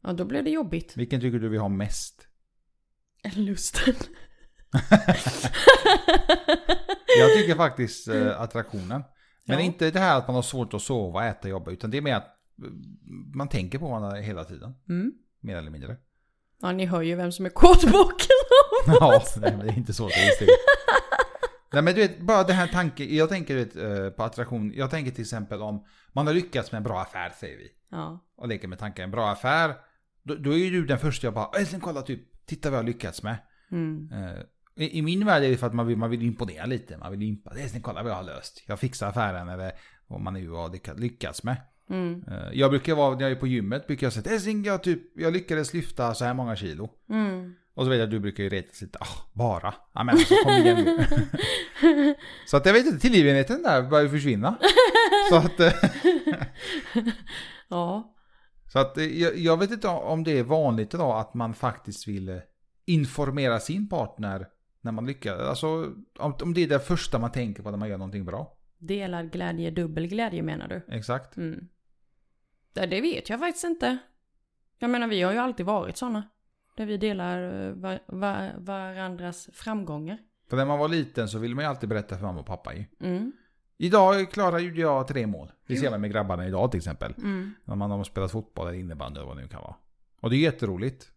Ja, då blir det jobbigt. Vilken tycker du vi har mest? Lusten. Jag tycker faktiskt eh, attraktionen. Men Ja. inte det här att man har svårt att sova, äta, jobba. Utan det är mer att eh, man tänker på varandra hela tiden. Mm. Mer eller mindre. Ja, ni hör ju vem som är kåtbocken. Ja, nej, men det är inte svårt att inställa. Nej men du vet, bara det här tanken. Jag tänker du vet, eh, på attraktion. Jag tänker till exempel om man har lyckats med en bra affär säger vi. Ja. Och leker med tanken en bra affär. Då, då är ju du den första jag bara, älskling kolla typ, titta vad jag har lyckats med. Mm. Eh, I i min värld är det för att man vill, man vill imponera lite. Man vill impa. Det är sen kolla vad jag har löst. Jag fixar affären eller vad man nu har lycka- lyckats med. Mm. Eh, Jag brukar vara, när jag är på gymmet brukar jag säga Hälsing, jag, typ, jag lyckades lyfta så här många kilo. Mm. Och så vet jag att du brukar ju retas lite. Ah, bara. Ja men alltså kom igen nu. Så att jag vet inte, tillgivenheten där börjar ju försvinna. Så att, eh, Ja. så att eh, jag, jag vet inte om det är vanligt idag att man faktiskt vill eh, informera sin partner när man lyckas. Alltså om, om det är det första man tänker på när man gör någonting bra. Delad glädje, dubbel glädje menar du? Exakt. Mm. Ja, det vet jag faktiskt inte. Jag menar, vi har ju alltid varit sådana. Där vi delar eh, va- va- varandras framgångar. För när man var liten så ville man ju alltid berätta för mamma och pappa ju. Mm. Idag klarade ju jag tre mål. Det ser man med grabbarna idag till exempel. Mm. När man har spelat fotboll eller innebandy eller vad det nu kan vara. Och det är jätteroligt.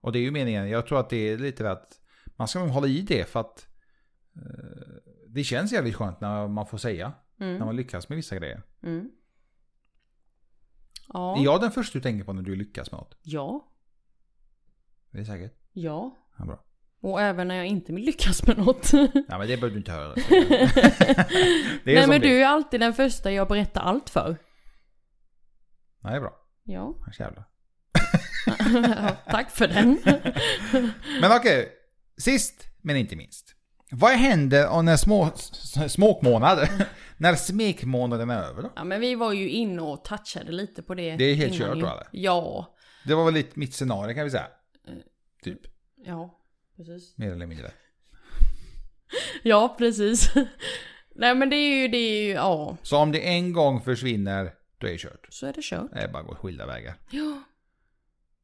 Och det är ju meningen. Jag tror att det är lite att man ska nog hålla i det för att eh, det känns jävligt skönt när man får säga. När Mm. man lyckas med vissa grejer. Mm. Ja. Är jag den första du tänker på när du lyckas med något? Ja. Det är säkert. Ja. Ja, bra. Och även när jag inte lyckas med något. Nej men det behöver du inte höra. Det är Nej som men det. du är alltid den första jag berättar allt för. Nej det är bra. Ja. Jävlar. Tack för den. Men okej, sist men inte minst. Vad händer om när små, s- småkmånad, när smekmånaden är över då? ja men vi var ju inne och touchade lite på det. Det är helt innan kört ju. då, eller? Ja. Det var väl lite mitt scenario kan vi säga. Eh. Typ, Ja. Precis. mer eller mindre. Ja precis. Nej men det är ju, det är ju, ja. Så om det en gång försvinner, då är det kört. Så är det kört. Det är bara att gå skilda vägar. Ja.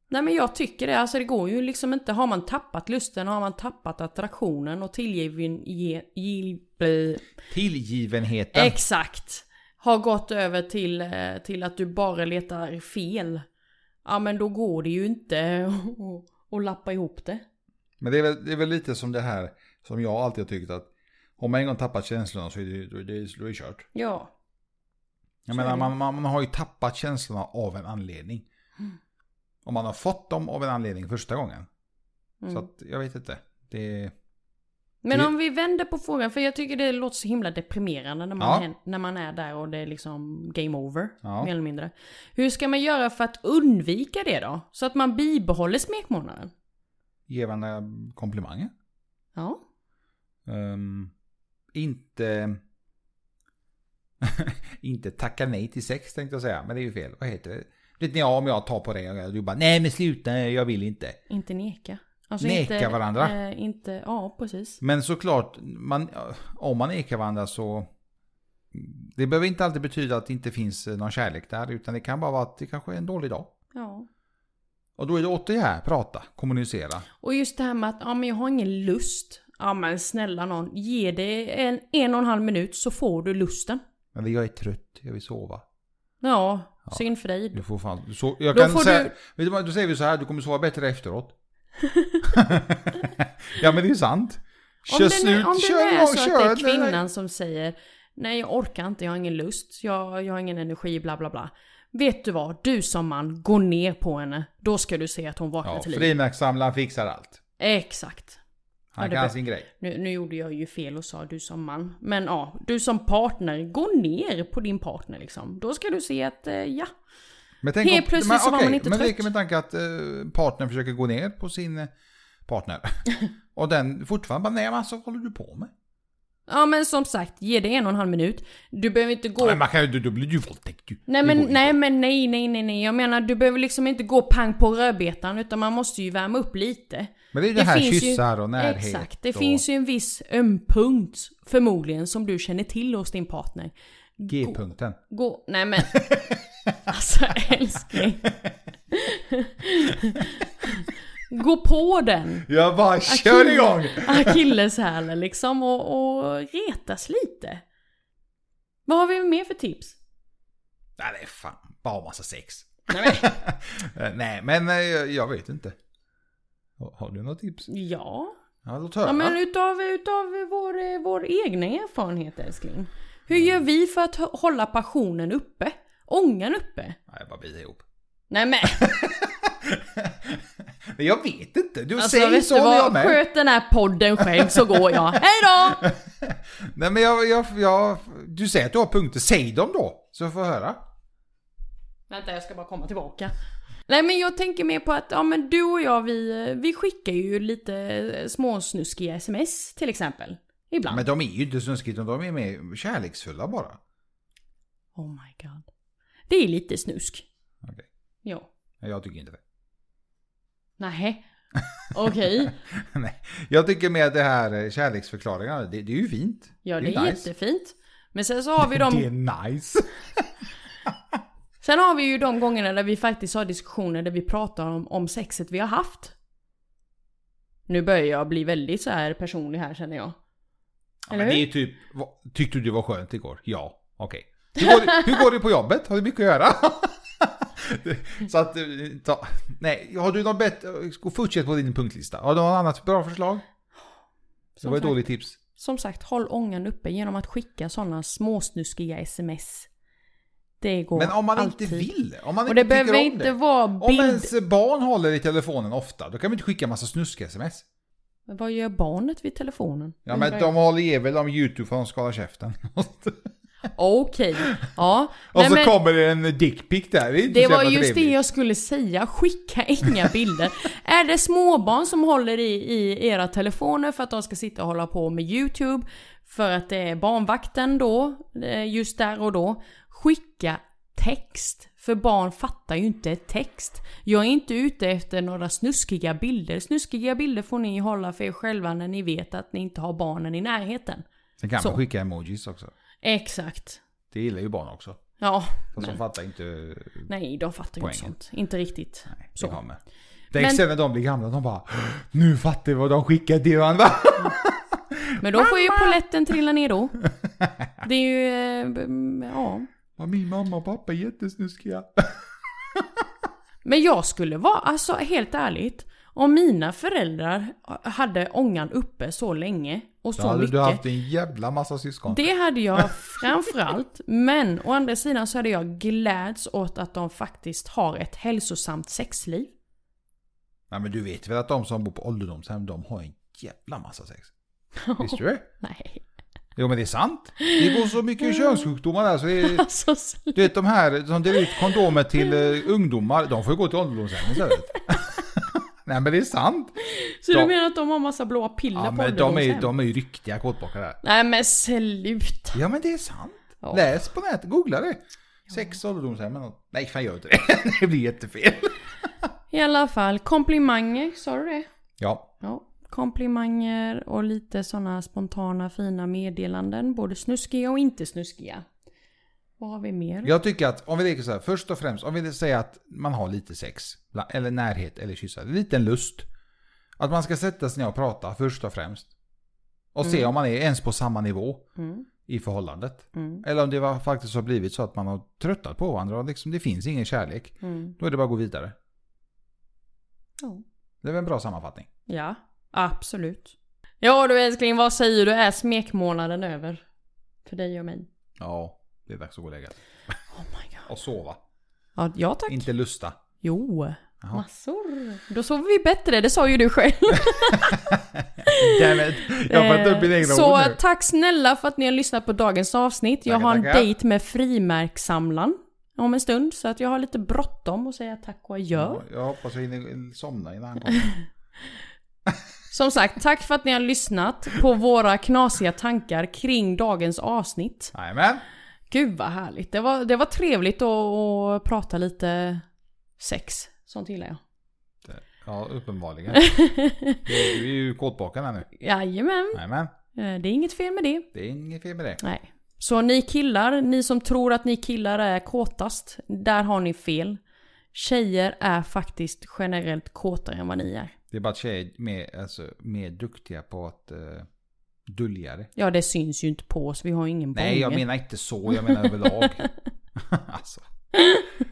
Nej men jag tycker det. Alltså det går ju liksom inte. Har man tappat lusten, har man tappat attraktionen och tillgivin... Ge, gi, blö. Tillgivenheten. Exakt. Har gått över till, eh, till att du bara letar fel. Ja men då går det ju inte att- att lappa ihop det. Men det är, väl, det är väl lite som det här som jag alltid har tyckt att om man en gång tappat känslorna så är det, då är det, då är det kört. Ja. Jag Så är menar, det. man, man, man har ju tappat känslorna av en anledning. Om man har fått dem av en anledning första gången. Mm. Så att, jag vet inte. Det, Men det- om vi vänder på frågan, för jag tycker det låter så himla deprimerande när man, Ja. hän- när man är där och det är liksom game over. Ja. Mer eller mindre. Hur ska man göra för att undvika det då? Så att man bibehåller smekmånaden? ge varandra komplimanger. Ja. Ehm, inte... inte tacka nej till sex tänkte jag säga, men det är ju fel. Vad heter det? Lite när jag, om jag tar på dig och du bara nej men sluta, jag vill inte. Inte neka. Alltså Neka inte, varandra. Eh, inte, ja precis. Men såklart, man, om man nekar varandra så... Det behöver inte alltid betyda att det inte finns eh, någon kärlek där, utan det kan bara vara att det kanske är en dålig dag. Ja. Och då är det återigen prata, kommunicera. Och just det här med att ja, men jag har ingen lust. Ja men snälla någon, ge det en, en och en halv minut så får du lusten. Men jag är trött, jag vill sova. Ja, synd för dig. Du får fan... Du so- jag Då kan får säga, du- vet du... vad, Då säger vi så här, du kommer sova bättre efteråt. ja men det är ju sant. Om Kör det, slut, nu, om det kör nu är igång, så kör att det är kvinnan som säger Nej jag orkar inte, jag har ingen lust, jag, jag har ingen energi, bla bla bla. Vet du vad? Du som man, gå ner på henne. Då ska du se att hon vaknar Ja, till liv. frimärkssamlaren fixar allt. Exakt. Han Ja, det kan bä- sin grej. Nu, nu gjorde jag ju fel och sa du som man. Men ja, du som partner, gå ner på din partner liksom. Då ska du se att, eh, ja. Men tänk Helt plötsligt så var okej, man inte men trött. leker med tanke att eh, partnern försöker gå ner på sin eh, partner. och den fortfarande bara, nej men alltså vad håller du på med? Ja men som sagt, ge det en och en halv minut. Du behöver inte gå... Men man kan ju, då- då blir du ju våldtäkt ju. Nej Det men, går ju nej inte. men nej nej nej nej. Jag menar du behöver liksom inte gå pang på rödbetan utan man måste ju värma upp lite. Men det är ju det, här finns ju- kyssar och närhet. Exakt. Det och, finns ju en viss ömpunkt förmodligen som du känner till hos din partner. G-punkten. Gå... Nej men. Alltså älskling. Gå på den. Jag bara kör igång! Akilleshälen liksom och, och retas lite. Vad har vi mer för tips? Nej, det är fan bara massa sex. Nej, men, Eh, Nej, men eh, jag vet inte. Har har du något tips? ja. Ja, låt höra. ja, men utav, utav vår, eh, vår egna erfarenhet älskling. Hur gör vi för att hå- hålla passionen uppe? Ångan uppe? Nej, jag bara biter ihop. Nej men Men jag vet inte. Du alltså säger vet så du när jag vad? med. Sköt den här podden själv så går jag. Hejdå! Nej, men jag, jag, jag... Du säger att du har punkter. Säg dem då, så jag får höra. Vänta jag ska bara komma tillbaka. Nej men jag tänker mer på att ja, men du och jag vi, eh, vi skickar ju lite eh, småsnuskiga sms till exempel. Ibland. Men de är ju inte snuskigt, utan de är mer kärleksfulla bara. Oh my god. Det är lite snusk. Okej. Ja. Nej, Jag tycker inte det. Nej. Okej. Nej. Jag tycker mer att det här eh, kärleksförklaringarna, det, det är ju fint. Ja det är, nice. jättefint. Men sen så har vi de Det är nice. Sen har vi ju de gångerna där vi faktiskt har diskussioner där vi pratar om, om sexet vi har haft. Nu börjar jag bli väldigt så här personlig här känner jag. Ja, Eller men det hur? är typ, vad, tyckte du det var skönt igår? Ja, okej. Hur, går det- hur går det på jobbet? Har du mycket att göra? Så att, eh, ta, nej, har du något bättre, gå fortsätt på din punktlista. Har du något annat bra förslag? Det Som var ett sagt. dåligt tips. Som sagt, håll ångan uppe genom att skicka sådana småsnuskiga sms. Det går Men om man alltid. inte vill, om man Och det inte tycker behöver om inte det. vara Om bild. ens barn håller i telefonen ofta, då kan vi inte skicka massa snusk-sms. Men Vad gör barnet vid telefonen? Ja men Undrar de håller i väl om YouTube för de ska hålla käften. jag. Okej, ja. Och Nej, så men- kommer det en dickpic där. Det, är inte Det så var jävla just det trevligt. jag skulle säga, skicka inga bilder. är det småbarn som håller i, i era telefoner för att de ska sitta och hålla på med YouTube, för att det är barnvakten då, eh, just där och då, skicka text. För barn fattar ju inte text. Jag är inte ute efter några snuskiga bilder. Snuskiga bilder får ni hålla för er själva när ni vet att ni inte har barnen i närheten. Sen kan Så. man skicka emojis också. Exakt. Det gillar ju barn också. Ja, Fast de fattar inte nej de fattar ju inte Poängen. sånt. Inte riktigt. så. Så. det kommer. Tänk sen när de blir gamla, de bara Nu fattar vi vad de skickar till varandra. Men då får ju poletten trilla ner då. Det är ju... eh, b- m, Ja. Ja, Min mamma och pappa är jättesnuskiga. Men jag skulle vara, alltså helt ärligt. Om mina föräldrar hade ångan uppe så länge och Då så hade mycket. du haft en jävla massa syskon. Det hade jag framförallt. Men å andra sidan så hade jag gläds åt att de faktiskt har ett hälsosamt sexliv. Nej men du vet väl att de som bor på ålderdomshem, de har en jävla massa sex. Visste du det? Nej. Jo men det är sant. Det går så mycket könssjukdomar där så det är... Alltså, s- Du vet de här som delar ut kondomer till eh, ungdomar, de får ju gå till ålderdomshem istället. Nej men det är sant. så du De- menar att de har massa blåa piller Ja, på men de är, ålderdomshem? de är ju riktiga kåtbockar Nej men sluta. Ja men det är sant. Ja. Läs på nätet, googla det. Sex ålderdomshem eller något. Nej fan gör inte det. Det blir jättefel. I alla fall, komplimanger, sa du det? Ja, Ja, komplimanger och lite sådana spontana fina meddelanden. Både snuskiga och inte snuskiga. Vad har vi mer? jag tycker att om vi leker så här. Först och främst om vi säger att man har lite sex. bla- Eller närhet eller kyssar. Liten lust. Att man ska sätta sig ner och prata först och främst. Och se om man är ens på samma nivå Mm, i förhållandet. mm, Eller om det var, faktiskt har blivit så att man har tröttat på varandra och liksom, det finns ingen kärlek. mm. Då är det bara att gå vidare. Ja. Det är väl en bra sammanfattning. ja, absolut. Ja du älskling, vad säger du? Är smekmånaden över? För dig och mig. Ja, det är dags att gå och lägga sig. Oh my god. Och sova. Ja, ja tack. Inte lusta. Jo, Jaha. massor. Då sover vi bättre, det sa ju du själv. Damn it. Jag har fått upp mina Eh, egna Så ord nu. tack snälla för att ni har lyssnat på dagens avsnitt. Jag Tackar, har en tackar. dejt med frimärkssamlaren om en stund. Så att jag har lite bråttom att säga tack och adjö. Ja, Jag hoppas jag hinner somna innan han kommer. Som sagt, tack för att ni har lyssnat på våra knasiga tankar kring dagens avsnitt. Jajamän. Gud vad härligt. Det var, det var trevligt att, att prata lite sex. Sånt gillar jag. Ja, uppenbarligen. Du är ju kåtbakaren här nu. Jajamän, Jajamän. eh, det är inget fel med det. Det är inget fel med det. Nej. Så ni killar, ni som tror att ni killar är kåtast, där har ni fel. Tjejer är faktiskt generellt kåtare än vad ni är. Det är bara att tjejer är mer, alltså, mer duktiga på att eh, dölja det. Ja, det syns ju inte på oss, vi har ju ingen Nej, jag bånge. menar inte så. Jag menar överlag. alltså.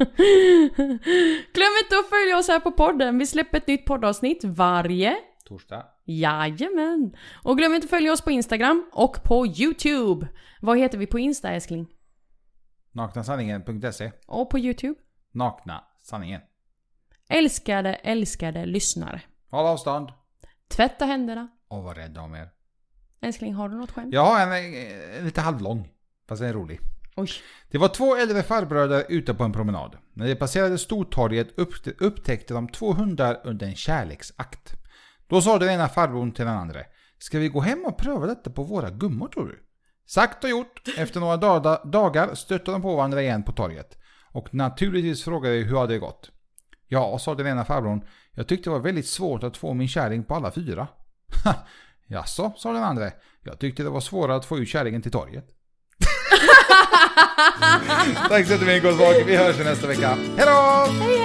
Glöm inte att följa oss här på podden. Vi släpper ett nytt poddavsnitt varje Torsdag. Jajamän! Och glöm inte att följa oss på Instagram och på YouTube. Vad heter vi på Insta älskling? Naknasanningen.se. Och på YouTube? E. Nakna sanningen. Älskade, älskade lyssnare. Håll avstånd Tvätta händerna. och var rädda om er. Älskling, har du något skämt? Jag har en, eh, en lite halvlång. Fast den är rolig. Oj. Det var två äldre farbröder ute på en promenad. När de passerade Stortorget upp- upptäckte de två hundar under en kärleksakt. Då sa den ena farbrorn till den andra. Ska vi gå hem och pröva detta på våra gummor tror du? Sagt och gjort. Efter några da- dagar stötte de på varandra igen på torget. Och naturligtvis frågade de hur hade det gått. Ja, sa den ena farbrorn. Jag tyckte det var väldigt svårt att få min kärring på alla fyra. "Ha, Jaså, sa den andra. Jag tyckte det var svårare att få ut kärringen till torget. Tack så jättemycket Goldbak. Vi hörs nästa vecka. Hej då! Hej